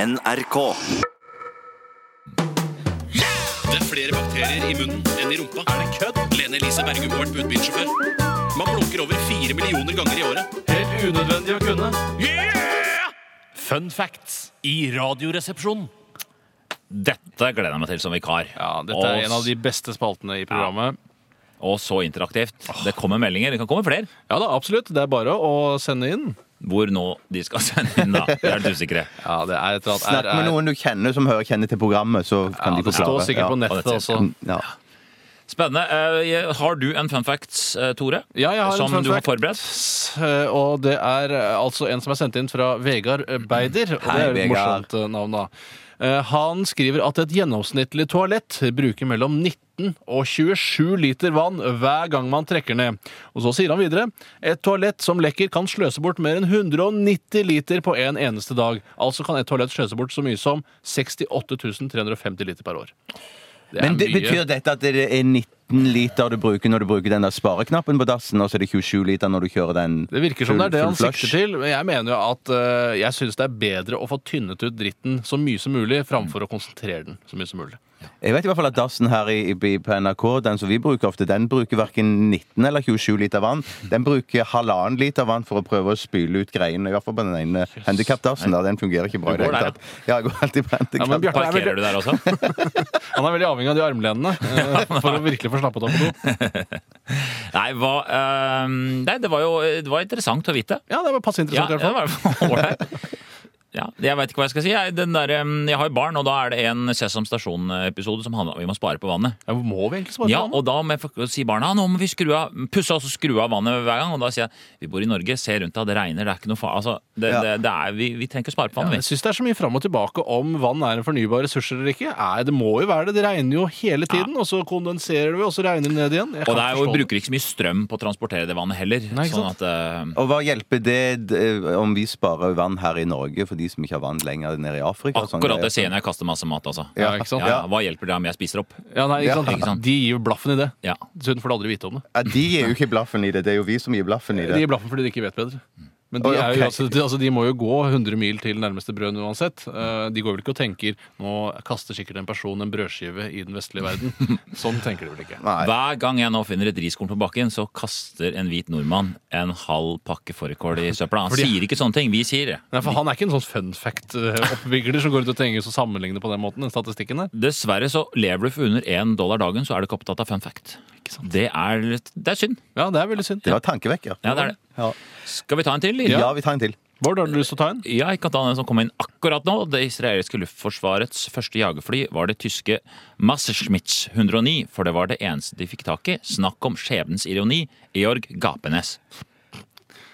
NRK. Det er flere bakterier i munnen enn i rumpa. Er det kødd? Lene Elise Bergum Hård, budbilsjåfør. Man blunker over fire millioner ganger i året. Helt unødvendig å kunne. Fun facts i Radioresepsjonen. Dette gleder jeg meg til som vikar. Ja, dette er en av de beste spaltene i programmet. Og så interaktivt. Det kommer meldinger. Det kan komme flere. Ja da, absolutt. Det er bare å sende inn. Hvor nå de skal sende inn, da. Vi er litt usikre. Ja, det er et eller annet Snakk med noen du kjenner som hører kjenner til programmet, så kan Ja, de det står forklare. sikkert på nettet Ja, også. Ja. Spennende. Eh, Har du en fun facts, eh, Tore? Ja, jeg har en som fun du har fact. forberedt? Eh, Og det er eh, altså en som er sendt inn fra Vegard eh, Beider. Og det Hei, er et Vegard. morsomt eh, navn, da. Eh, Han skriver at et gjennomsnittlig toalett bruker mellom 19 og 27 liter vann hver gang man trekker ned. Og så sier han videre et toalett som lekker kan sløse bort mer enn 190 liter på en eneste dag. Altså kan et toalett sløse bort så mye som 68 350 liter per år. Det er Men det, mye. betyr dette at det er 19 liter du bruker når du bruker den der spareknappen på dassen, og så er det 27 liter når du kjører den Det virker som det er det full- han full flush? sikter til, men jeg mener jo at eh, jeg syns det er bedre å få tynnet ut dritten så mye som mulig, framfor å konsentrere den så mye som mulig. Jeg vet i hvert fall at dassen her i, i, på NRK, den som vi bruker ofte, den bruker hverken 19 eller 27 liter vann. Den bruker halvannen liter vann for å prøve å spyle ut greiene. I hvert fall på den ene handikapdassen. da. Den fungerer ikke bra. i Du det går hele der, tatt. Ja, jeg går alltid på Ja, men handikap. Bjarte er Parkerer veldig, du der også? han er veldig avhengig av de armlenene eh, for å virkelig få slappet av på do. Nei, hva, eh, nei det var jo det var interessant å vite. Ja, det var passe Ja, interessant i det hvert fall. var ålreit. Ja, jeg veit ikke hva jeg skal si. Jeg, den der, eh, jeg har jo barn, og da er det en Sesam Stasjon-episode som handler om vi må spare på vannet. Ja, må vi egentlig svare Ja, på det? og da må jeg få- si barna nå må vi skru av, pusse oss og skru av vannet hver gang. Og da sier jeg vi bor i Norge, se rundt deg, det regner, det er ikke noe far... Altså, det, Ja. det, det er, vi, vi trenger ikke å spare på Ja, vannet, jeg syns det er så mye fram og tilbake om vann er en fornybar ressurs eller ikke. Nei, det må jo være det. Det regner jo hele tiden, og så kondenserer det, og så regner det ned igjen. Jeg vi. Og kan det er jo, forstå det. bruker ikke så mye strøm på å transportere det vannet heller. Nei, ikke sånn sant? at eh, Og hva hjelper det eh, om vi sparer vann her i Norge for de som ikke har vann lenger nede i Afrika? og sånn Akkurat det greier? jeg sier når jeg kaster masse mat, altså. Ja, ikke sant? Ja, ja, hva hjelper det om jeg spiser opp? Ja, nei, ikke Ja. sant? Ikke sant? De gir jo blaffen i det. Ja. Dessuten får du aldri vite om det. Ja, de gir jo ikke blaffen i det. Det er jo vi som gir blaffen i De det. gir blaffen fordi de ikke vet bedre. Men de, Oi, er jo, ok. altså, de, altså, de må jo gå 100 mil til nærmeste brønn uansett. Eh, De går vel ikke og tenker nå kaster sikkert en person en brødskive i den vestlige verden. Sånn tenker de vel ikke. Nei. Hver gang jeg nå finner et riskorn på bakken, så kaster en hvit nordmann en halv pakke fårikål i søpla. Han Fordi- sier ikke sånne ting. Vi sier det. Nei, for Han er ikke en sånn fun fact-oppvigler som går ut og tenker så sammenlignende på den måten. den statistikken der. Dessverre så lever du for under én dollar dagen, så er du ikke opptatt av fun fact. Det er, litt- det er synd. Ja, Det er veldig synd. Det var tankevekker. Ja, det er det. Ja. Skal vi ta en til? eller? Ja, vi tar en til. Bård, har du lyst til å ta en? Ja, jeg kan ta den som kom inn akkurat nå. Det israelske luftforsvarets første jagerfly var det tyske Messerschmitt 109, for det var det eneste de fikk tak i. Snakk om skjebnens ironi. Georg Gapenes.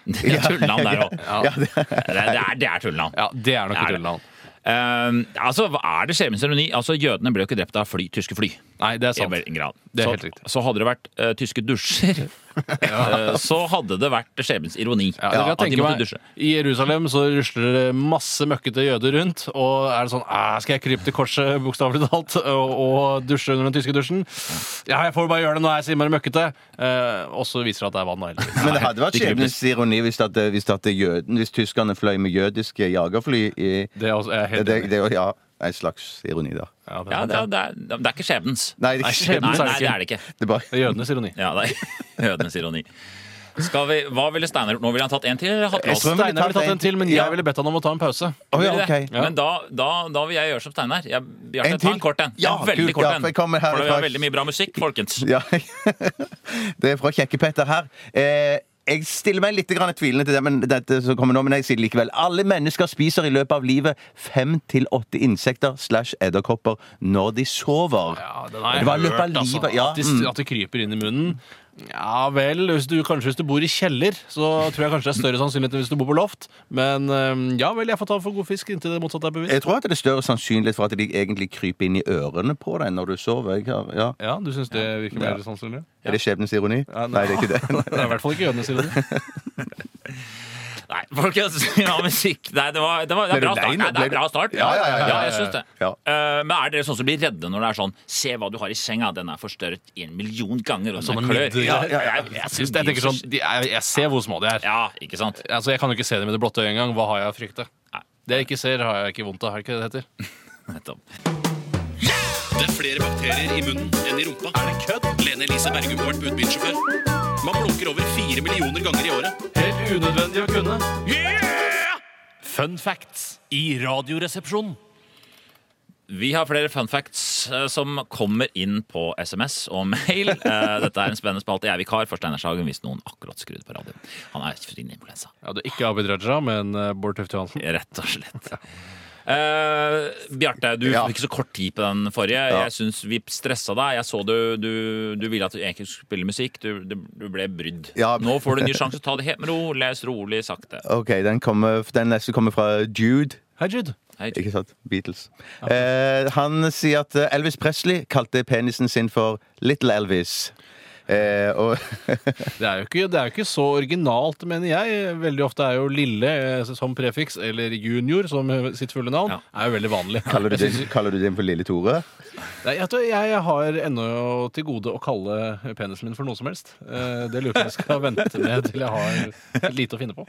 Det er tullenavn der òg. Det, er- det er tullenavn. Ja, Det er nok Det er et det. tullenavn. Ehm, altså, hva er det skjebnens ironi? Altså, Jødene ble jo ikke drept av fly, tyske fly. Nei, det er I sant. vel- grad. Det er så, helt riktig. så hadde det vært eh, tyske dusjer, eh, så hadde det vært skjebnens ironi. Ja, det kan jeg at de tenke måtte meg, dusje. I Jerusalem så rusler det masse møkkete jøder rundt. Og er det sånn «Æ, Skal jeg krype til korset, bokstavelig talt, og, og dusje under den tyske dusjen? Ja, jeg får bare gjøre det når jeg sier bare møkkete. Eh, og så viser det at det er vann. da, Eller. Men det hadde vært det kryper. skjebnens ironi hvis, at, eh, hvis, at jøden, hvis tyskerne fløy med jødiske jagerfly i Det er også, jeg er Det, helt det, enig. det er jo ja, en slags ironi, da. Ja, det er Ja, sant, det, ja. er- det, er, det er ikke skjebnens. Nei, det Nei, er ikke skjebnens Nei, er nei, det er det ikke. det er bare, Det er jødenes ironi. Ja, det er jødenes ironi. Skal vi, hva ville Steinar gjort nå? Ville han tatt en til? eller hatt med oss? Jeg tror- Steinar ville tatt en til, men Ja. jeg ville bedt han om å ta en pause. Å, ja, Ville det? ok. Ja. Men da, da, da vil jeg gjøre som Steinar. Jeg, Bjarte, En ta til? en kort en. Ja, en veldig kult, kort ja, en. for jeg kommer her For det er straks. veldig mye bra musikk, folkens. Ja. Det er fra Kjekke-Petter her. Eh, jeg stiller meg litt grann tvilende til det, men dette som kommer nå, men jeg sier det likevel. Alle mennesker spiser i løpet av livet fem til åtte insekter slash edderkopper når de sover. Ja, den har jeg Det var i hørt, løpet av altså. livet, ja. At, de, at de kryper inn i munnen. Ja vel, hvis du, kanskje hvis du bor i kjeller, så tror jeg kanskje det er større sannsynlighet enn hvis du bor på loft. Men øhm, ja vel, jeg får ta for god fisk inntil det motsatte er bevist. Jeg tror at det er større sannsynlighet for at de egentlig kryper inn i ørene på deg når du sover. Jeg har, ja. Ja, du syns det virker mer sannsynlig? Er det skjebnens ironi? Ja, Nei, det er ikke det. Det er i hvert fall ikke jødene sine. Nei, folkens, vi har musikk. Nei, det var, det var, det Ble er bra du lei start. nå? Nei, det Ble er du- bra start. Ja, ja, ja, ja, jeg syns det. ja. Eh, men er dere sånn som blir redde når det er sånn Se hva du har i senga, den er forstørret en million ganger, og den Sånne er klør. midler. jeg, jeg, sånn, Jeg, synes det, jeg tenker sånn, de, jeg, jeg ser hvor små de er. Ja, ikke sant? Altså, Jeg kan jo ikke se dem i det blotte øyet engang. Hva har jeg å frykte? Nei. Det jeg ikke ser, har jeg ikke vondt av. Er det ikke det det heter? Nettopp. Det er flere bakterier i munnen enn i rumpa. Er det kødd? Lene Elise Bergum har vært budbilsjåfør. Man blunker over fire millioner ganger i året. Helt unødvendig å kunne. Fun facts i Radioresepsjonen. Vi har flere fun facts eh, som kommer inn på SMS og mail. Eh, Dette er en spennende spalte. Jeg er vikar for Steinar Sagen hvis noen akkurat skrudde på radioen. Han er fri influensa. Ja, det er ikke Abid Raja, men eh, Bård Tufte Johansen. Rett og slett. Eh, Bjarte, du Ja. fikk så kort tid på den forrige. Jeg syns vi stressa deg. Jeg så du, du, du ville at du egentlig skulle spille musikk. Du, du, du ble brydd. Ja. Nå får du en ny sjanse. Ta det helt med ro. Les rolig, sakte. OK, den, kommer, den neste kommer fra Jude. Hei, Jude. Hei, Ikke sant? Beatles. Eh, han sier at eh, Elvis Presley kalte penisen sin for Little Elvis. Eh, og Det er, jo ikke, det er jo ikke så originalt, mener jeg. Veldig ofte er jo lille eh, som prefiks, eller junior som eh, sitt fulle navn, Ja. er jo veldig vanlig. kaller du, din, kaller du din for Lille Tore? Nei, jeg, tror jeg har ennå til gode å kalle penisen min for noe som helst. Eh, Det lurer jeg på om jeg skal vente med til jeg har lite å finne på.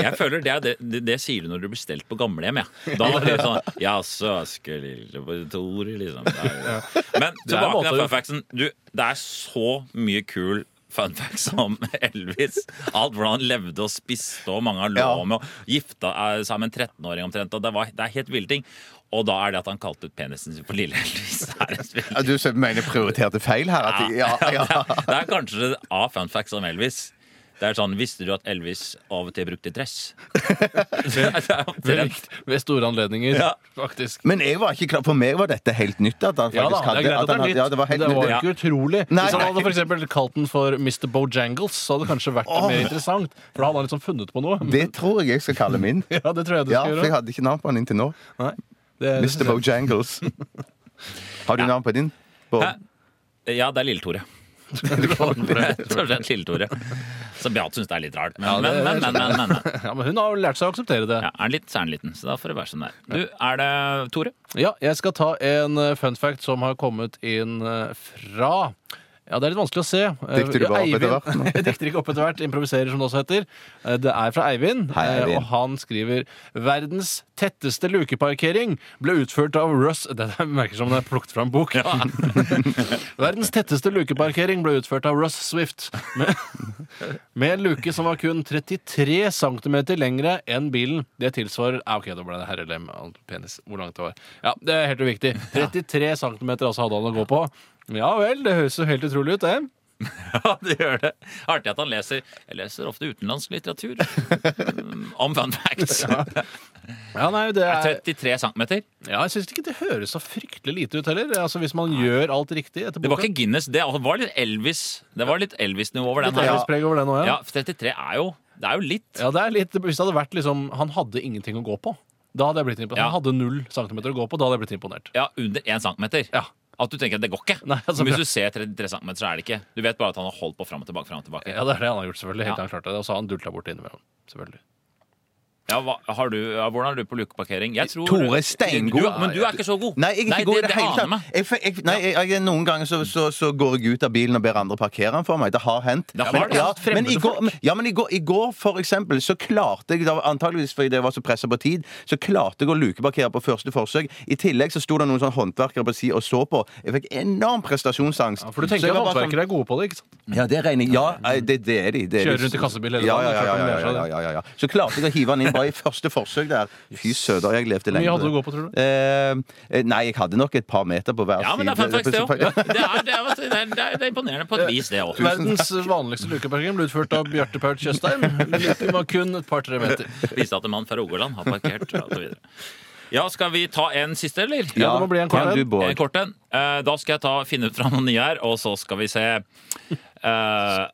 Jeg føler det, er det, det, det sier du når du blir stelt på gamlehjem. Ja. Da er det sånn Jaså, Asker Lilleborg liksom. Det er jo- Men er en tilbake måte- til fun factsen. Du, det er så mye kul fun facts om Elvis. Alt hvordan han levde og spiste, og mange han lå Ja. med, og gifta eh, seg med en 13-åring omtrent. Og det, var, det er helt ville ting. Og da er det at han kalte ut penisen sin for Lille Elvis. Det er en spil- Ja, Du mener prioriterte feil her? At, de- ja, ja. det er kanskje det A fun facts om Elvis. Det er sånn, Visste du at Elvis av og til brukte dress? det er Ved, omtrent. ved store anledninger, Ja. faktisk. Men jeg var ikke klar, for meg var dette helt nytt. At han faktisk Ja da, det hadde, er greit at det er han- nytt. ja, det var helt men det nytt. var ikke utrolig. Nei, Hvis han nei. hadde for eksempel kalt den for Mr. Bojangles, så hadde det kanskje vært mer interessant. For da hadde han liksom funnet på noe. Det tror jeg jeg skal kalle min. Ja, det tror jeg du Ja, skal for jeg gjøre. hadde ikke navn på han inntil nå. Nei, det, det Mr. synes jeg- Bojangles. Har du navn på din? Bård? Hæ? Ja, det er Lille-Tore. Rett og slett Lille-Tore. Så Beate syns det er sånn. litt rart. Men, men, men, men, men, men, men. Ja, men hun har jo lært seg å akseptere det. Ja, er den litt, så er den liten. Så da får det være sånn der. Du, er det Tore? Ja, jeg skal ta en eh, fun fact som har kommet inn eh, fra ja, Det er litt vanskelig å se. Eh, Dikter du bare opp etter Eivind- hvert, nå? Jeg dikter ikke opp etter hvert. Improviserer, som det også heter. Eh, Det er fra Eivind, Hei, eh, Eivind. og han skriver 'Verdens tetteste lukeparkering ble utført av Russ' Det der merker som det er plukket fra en bok. Verdens tetteste lukeparkering ble utført av Russ Swift. Med, med en luke som var kun 33 cm lengre enn bilen. Det tilsvarer ah, Ok, da ble det herrelem og penis. Hvor langt det var. Ja, Det er helt uviktig. 33 cm altså hadde han å gå på. Ja vel, det høres jo helt utrolig ut, det. Ja, det gjør det. Artig at han leser. Jeg leser ofte utenlandsk litteratur. Mm, Om fun facts. Ja, nei, det er 33 centimeter. Ja, jeg syns ikke det høres så fryktelig lite ut heller. Altså, Hvis man gjør alt riktig etter Det var boka. ikke Guinness. Det var litt Elvis. Det var litt Elvis-nivå over den Det er her. litt preg over det nå, ja. Ja, 33 er jo Det er jo litt. ja det er litt, hvis det hadde vært liksom Han hadde ingenting å gå på. Da hadde jeg blitt imponert. Ja. Han hadde null centimeter å gå på. Da hadde jeg blitt imponert. Ja, under 1 centimeter. Ja. At du tenker at det går ikke. Nei, altså, Men Hvis du ser 33 cm, så er det ikke. Du vet bare at han har holdt på fram og tilbake. Frem og tilbake. Ja, det er det han har gjort, selvfølgelig. Helt Ja. ja. klart det. Og så har han dulta bort innimellom. Selvfølgelig. Ja, hva, har du, ja, hvordan er du på lukeparkering? Jeg tror- Tore er steingod. Du, men du er ikke så god. Nei, jeg er ikke god i det, det, hele aner tatt. meg. Jeg, jeg, nei, jeg, jeg, noen ganger så, så, så går jeg ut av bilen og ber andre parkere den for meg. Det har hendt. Det har men, det. ja, men, Fremmede i går, ja, men i går, i går, for eksempel, så klarte jeg, da- antageligvis fordi det var så pressa på tid, så klarte jeg å lukeparkere på første forsøk. I tillegg så sto det noen sånne håndverkere på si og så på. Jeg fikk enorm prestasjonsangst. Ja, for du Så tenker jeg at var bare håndverkere er gode på det, ikke sant? sånn, Ja, det regner jeg. Ja, nei, det, det er de. Det er Kjører de. rundt i kassebil hele ja, dagen, ja, det er ja, klart de ja, lærer seg ja, ja, ja, ja. Så klarte jeg å hive den inn bare i første forsøk der. Fy søder, jeg Hvor levde mye lenge. på hadde det. du å gå på, tror du? Eh, nei, jeg hadde nok et par meter på hver Ja, men det er fun facts, det òg. Det, er- det, er- det, er- det er imponerende på et vis, det òg. Verdens vanligste lukeparkering ble utført av Bjarte Paul Tjøstheim. Luken var kun et par-tre meter. Viste at en mann fra Rogaland har parkert. Og så videre. ja, skal vi ta en siste, eller? Ja, det må bli en kort en. du, Bård. En kort en. Eh, Da skal jeg ta, finne ut fra noen nye her, og så skal vi se. Eh,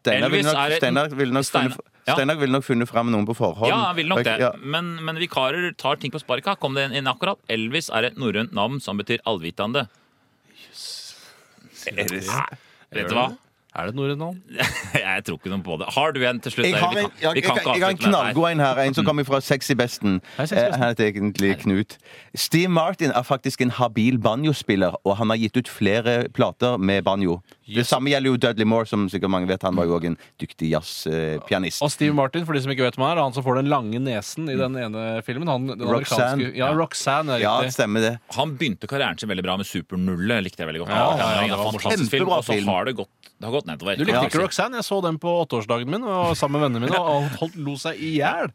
Steinar ville Elvis nok, er et- Steinar ville nok, Steinar- funnet- Ja. Steinar ville nok funnet fram noen på forhånd. Ja, han vil nok det. Ja. Men, men vikarer tar ting på sparka. Kom det inn akkurat? Elvis er et norrønt navn som betyr allvitende. Vet du hva? Er det et norrønt navn? Jeg tror ikke noe på det. Har du en til slutt? Jeg har Eivind? en, Vi jeg, kan- vi jeg, kan jeg, ikke avslutte har en med dette her. knallgod en her. En som kommer fra Sexy Besten. Hei, Sexy Eh, Besten. Han heter egentlig Knut. Steve Martin er faktisk en habil banjospiller, og han har gitt ut flere plater med banjo. Det samme gjelder jo Dudley Moore, som sikkert mange vet. Han var jo òg en dyktig jazzpianist. Og Steve Martin, for de som ikke vet hvem han er, han som får den lange nesen i den ene filmen. Han, den Roxanne. amerikanske- Ja, Roxanne er Ja, riktig. stemmer det. Han begynte karrieren sin veldig bra med Supernullet. Likte jeg veldig godt. Ja, ja, ja, det en var fantastisk film, Kjempebra og så film. har det gått, det har gått nedover. Du likte Ja. altså. ikke Roxanne? Jeg så den på åtteårsdagen min og sammen med vennene mine og holdt, lo seg i hjel.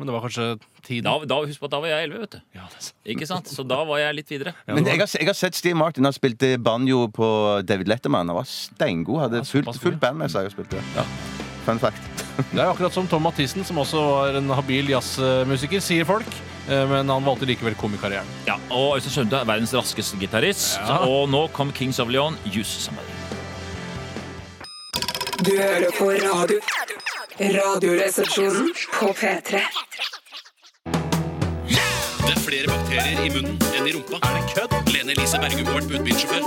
Men det var kanskje tiden. Da, da, husk på at da var jeg 11, vet du. Ja, altså. det er sant. Ikke sant? Så da var jeg litt videre. Men jeg har, jeg har sett Steve Martin. Han spilte banjo på David Letterman. Han var steingod. Hadde fullt, såpass god, fullt band med seg og spilte. Ja. Fun fact. Det er akkurat som Tom Mathisen, som også var en habil jazzmusiker, sier folk. Eh, Men han valgte likevel komikarrieren. Ja, og Øystein Sunde er verdens raskeste gitarist. Ja. Og nå kom Kings of Leon, Use Somebody. Du hører på radio. Radioresepsjonen på P3. Det er flere bakterier i munnen enn i rumpa. Er det kødd? Lene Elise Bergum har vært budbilsjåfør.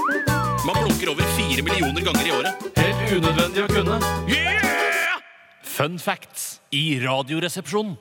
Man blunker over fire millioner ganger i året. Helt unødvendig å kunne. Fun facts i Radioresepsjonen.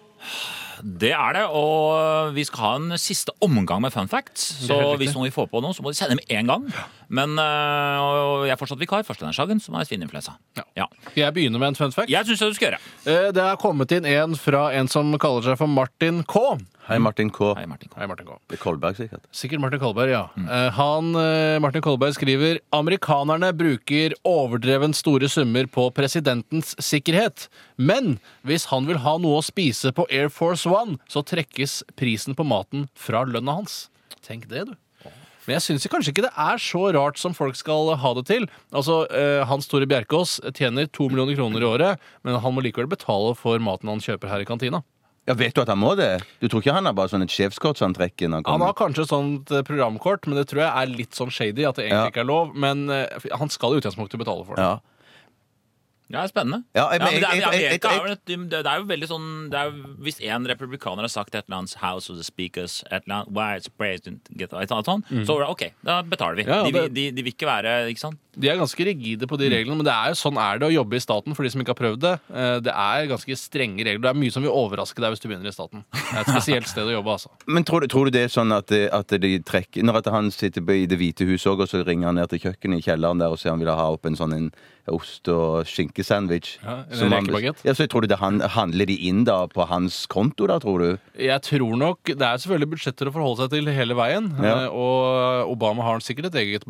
Det er det, og vi skal ha en siste omgang med fun facts. Så hvis noen vil få på noe, så må de sende med en gang. Men øh, og jeg er fortsatt vikar. Førsteland Sagen, som er svineinfluensa. Ja. Skal jeg begynne med en fun fact? Jeg syns du skal gjøre. Eh, Det er kommet inn en fra en som kaller seg for Martin K. Hei, Martin K. Hei, Martin. Hei, Martin K. Det er Kolberg, sikkert. Sikkert Martin Kolberg, ja. Eh, Han, eh, Martin Kolberg skriver amerikanerne bruker overdreven store summer på presidentens sikkerhet. Men hvis han vil ha noe å spise på Air Force One, så trekkes prisen på maten fra lønna hans. Tenk det, du. Men jeg syns kanskje ikke det er så rart som folk skal ha det til. Altså, eh, Hans Tore Bjerkås tjener to millioner kroner i året, men han må likevel betale for maten han kjøper her i kantina. Ja, Vet du at han må det? Du tror ikke han har bare sånn et sjefskort som han trekker? Når han Han kommer? har kanskje et sånt eh, programkort, men det tror jeg er litt sånn shady. At det egentlig Ja. ikke er lov Men eh, han skal i utgangspunktet betale for det. Ja. Ja, det er spennende. Ja, Ja, men men jeg- det er- jeg- i jeg- Amerika jeg- er vel et- det- det er jo veldig sånn det er, jo- Hvis en republikaner har sagt et eller annet House of the Speakers, et eller annet Why is the president get, et eller annet sånn, Så var det OK, da betaler vi. Ja, ja, de, vil- det- de, de vil ikke være Ikke sant? De er ganske rigide på de reglene, men det er jo sånn er det å jobbe i staten for de som ikke har prøvd det. Eh, Det er ganske strenge regler. Det er mye som vil overraske deg hvis du begynner i staten. Det er et spesielt sted å jobbe, altså. Men tror du, tror du det er sånn at, at de trekker Når at han sitter i Det hvite huset òg, og så ringer han ned til kjøkkenet i kjelleren der og sier han vil ha opp en sånn en ost- og skinkesandwich Ja, eller som han- rekebagett. Ja, så jeg tror du det han, handler de inn da på hans konto, da, tror du? Jeg tror nok Det er selvfølgelig budsjetter å forholde seg til hele veien. Ja. eh, Og Obama har sikkert et eget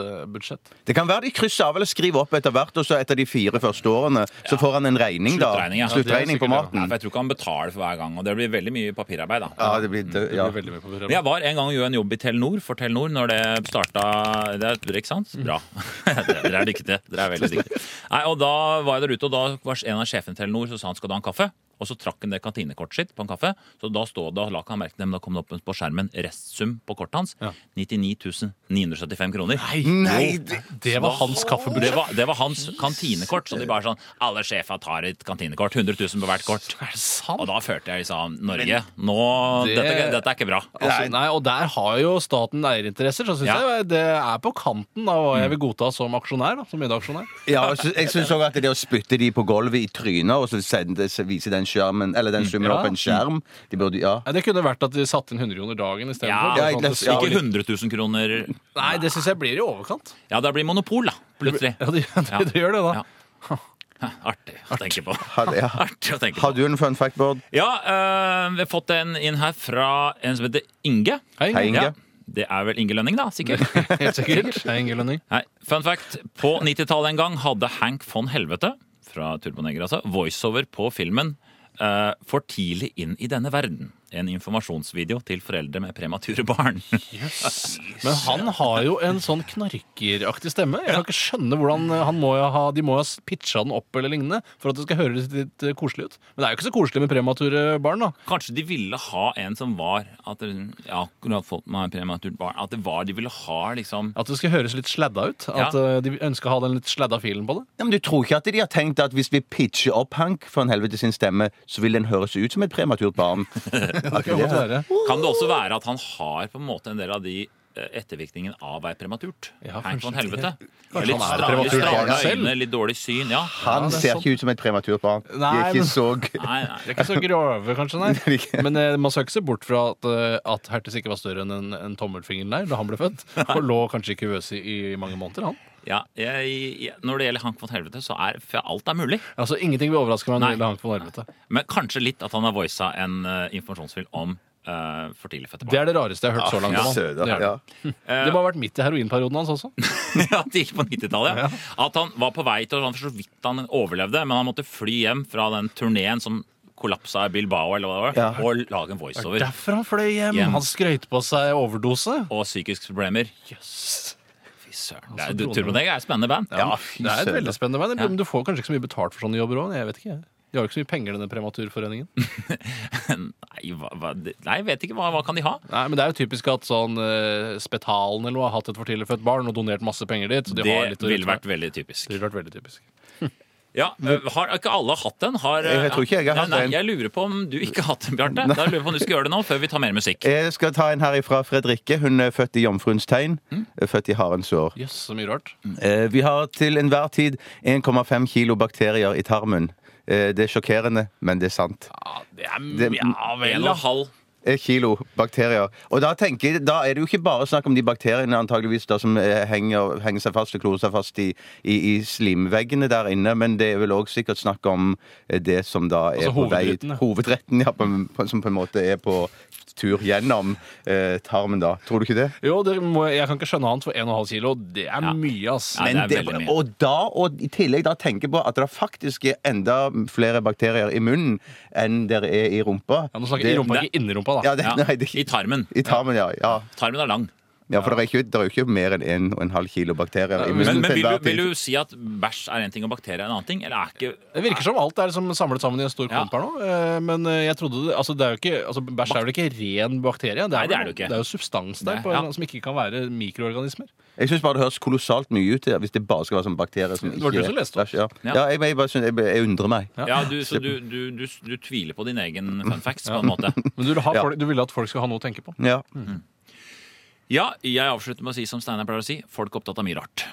bagettbudsjett. Det kan være de krysser av eller skriver opp etter hvert, og så etter de fire første årene så får han en regning, da. Sluttregning, ja. Sluttregning Ja, det er sikkert det. Ja, på for maten. jeg tror ikke han betaler for hver gang, og det blir veldig mye papirarbeid. da Ja, det blir død, ja. Veldig mye på Men programmet. jeg var en gang og gjorde en jobb i Telenor for Telenor når det starta det er, Ikke Mm. sant? Bra. Dere- Dere er dyktige. Dere er veldig dyktige. Nei, og da var jeg der ute, og da var en av sjefene i Telenor så sa han skal du ha en kaffe. Og så trakk han det kantinekortet sitt på en kaffe. Så da stod, da la ikke han merke til det, men da kom det opp på skjermen restsum på kortet hans. 99 975 kroner. Nei, det- Det var hans Det kaffebudsjett. var, det var hans kantinekort. Så de bare sånn Alle sjefer tar et kantinekort. 100 000 på hvert kort. Er det sant? Og da følte jeg liksom Norge, nå Det- dette, dette er ikke bra. Altså, nei, og der har jo staten eierinteresser, så syns Ja. jeg det er på kanten av hva jeg vil godta som aksjonær. Da, som medieaksjonær. Ja, og så- jeg syns òg at det å spytte de på gulvet i trynet og så sende, så vise den skjermen Eller den summen Mm, Ja. opp en skjerm De burde, ja. Nei, Det kunne vært at de satte inn 100 kroner dagen istedenfor. Ja, Bare jeg sånn at leser- det ja, Ikke står litt- 100 000 kroner Nei, det syns jeg blir i overkant. Ja, det blir monopol, da. Plutselig. Ja, det, det, det gjør det, da. Ja. Artig å tenke på. Har, ja. Artig å tenke har på. du en fun fact, Bård? Ja, øh, vi har fått en inn her fra en som heter Inge. Hei, Hei, Inge. Ja, det er vel Inge Lønning, da, sikkert. Helt sikkert. Hei, Inge Lønning. Nei, fun fact. På 90-tallet en gang hadde Hank von Helvete fra Turboneger altså, voiceover på filmen eh, For tidlig inn i denne verden. En informasjonsvideo til foreldre med premature barn. Men han har jo en sånn knarkeraktig stemme. Jeg kan ikke skjønne hvordan han må jo ha, De må jo ha pitcha den opp eller lignende for at det skal høres litt eh, koselig ut. Men det er jo ikke så koselig med premature barn, da. Kanskje de ville ha en som var at det- ja, akkurat fått meg prematurt barn. At det var de ville ha, liksom. At det skal høres litt sladda ut. At Ja. eh, de ønsker å ha den litt sladda filen på det. Ja, men du tror ikke at de har tenkt at hvis vi pitcher opp Hank for en helvete sin stemme, så vil den høres ut som et prematurt barn? Det kan godt være. Kan det også være at han har på en måte en del av de eh, ettervirkningen av å være prematurt. Ja, Hei på en kanskje helvete. Kanskje Litt han er stra- prematurt stramme barn selv? øyne, litt dårlig syn. Ja. Han det er ser sant. ikke ut som et prematurt barn. De Nei, er men- ikke så g- Nei, nei. Det er ikke så grove, kanskje, nei. Men eh, man skal ikke se bort fra at, eh, at Hertes ikke var større enn en, en tommelfingeren der da han ble født. Og lå kanskje i kuvøse i, i mange måneder, han. Ja, jeg, jeg, når det gjelder Hank von Helvete, så er for alt er mulig. Altså, Ingenting vil overraske meg når Nei. det gjelder Hank von Helvete. Men kanskje litt at han har voisa en eh, informasjonsfilm om eh, for tidlig fødte Det barn. er det rareste jeg har hørt så langt. om han. søte. Det er det. Ja. Det må ha vært midt i heroinperioden hans også. At det gikk på 90-tallet. Ja. At han var på vei til han For så vidt han overlevde, men han måtte fly hjem fra den turneen som kollapsa i Bilbao, eller hva det var, Ja. og lage en voiceover. Derfor han fløy hjem. Hjem. Han skrøyt på seg overdose. og psykiske problemer. Fy søren. Det er, Altså, Turbonegger er et spennende band. Ja, fy Det er et søren. veldig spennende vei. Ja. Men du får kanskje ikke så mye betalt for sånne jobber òg. Jeg vet ikke. jeg. De har jo ikke så mye penger, denne prematurforeningen. Nei, hva, hva, det- nei, jeg vet ikke. Hva, hva kan de ha? Nei, men det er jo typisk at sånn eh, Spetalen eller noe har hatt et for tidlig født barn og donert masse penger dit. Så de har Det litt å rutte ville med. vært veldig typisk. Det ville vært veldig typisk. Ja, øh, Har ikke alle hatt den? Har, øh, Jeg tror ikke jeg har nei, hatt nei, den. Jeg lurer på om du ikke har hatt den, Bjarte. Da lurer jeg på om du skal gjøre det nå, før vi tar mer musikk. Jeg skal ta en her fra Fredrikke. Hun er født i jomfruens tegn. eh, Født i harens år. Jøss, så mye rart. Mm. Eh, Vi har til enhver tid 1,5 kilo bakterier i tarmen. Eh, Det er sjokkerende, men det er sant. Ja, det er Det- ja En vel, og en da. halv. Eh, Kilo bakterier. Og da tenker jeg, da er det jo ikke bare snakk om de bakteriene antageligvis da som eh, henger, henger seg fast og klorer seg fast i, i, i slimveggene der inne, men det er vel òg sikkert snakk om eh, det som da er Altså på vei hovedretten, ja. Hovedretten, ja. På, på, som på en måte er på tur gjennom eh, tarmen, da. Tror du ikke det? Jo, det må, jeg kan ikke skjønne annet, for 1,5 kilo, det er mye, ass. Ja, Men det er veldig mye. og da, og i tillegg da tenke på at det faktisk er enda flere bakterier i munnen enn det er i rumpa. Ja, nå snakker jeg i rumpa, ikke inni rumpa, da. Ja, det, Ja, nei, det, I tarmen. I tarmen, ja. ja. Tarmen er lang. ja for det er, ikke, det er jo ikke mer enn 1,5 kilo bakterier i Men, munnen. men til vil, du, enhver tid. vil du si at bæsj er én ting og bakterier er en annen ting? Eller er ikke Det virker som alt er liksom samlet sammen i en stor Ja. klump her nå. eh, Men eh, jeg trodde det, altså det er jo ikke, altså bæsj er vel ikke ren bakterie? Det er, Nei, det vel- er det jo ikke. Det er jo substans der Nei, på en, ja. eller annen- som ikke kan være mikroorganismer. Jeg syns bare det høres kolossalt mye ut til, hvis det bare skal være sånn bakterier som Det var du ikke- som leste opp. Ja, Ja. ja jeg, jeg, bare synes, jeg, jeg undrer meg. Ja, du, så du, du, du, du tviler på din egen fun facts, på en måte. Men du, vil ha Ja. folk, du ville at folk skal ha noe å tenke på. Ja. Ja, jeg avslutter med å si som Steinar pleier å si, folk er opptatt av mye rart.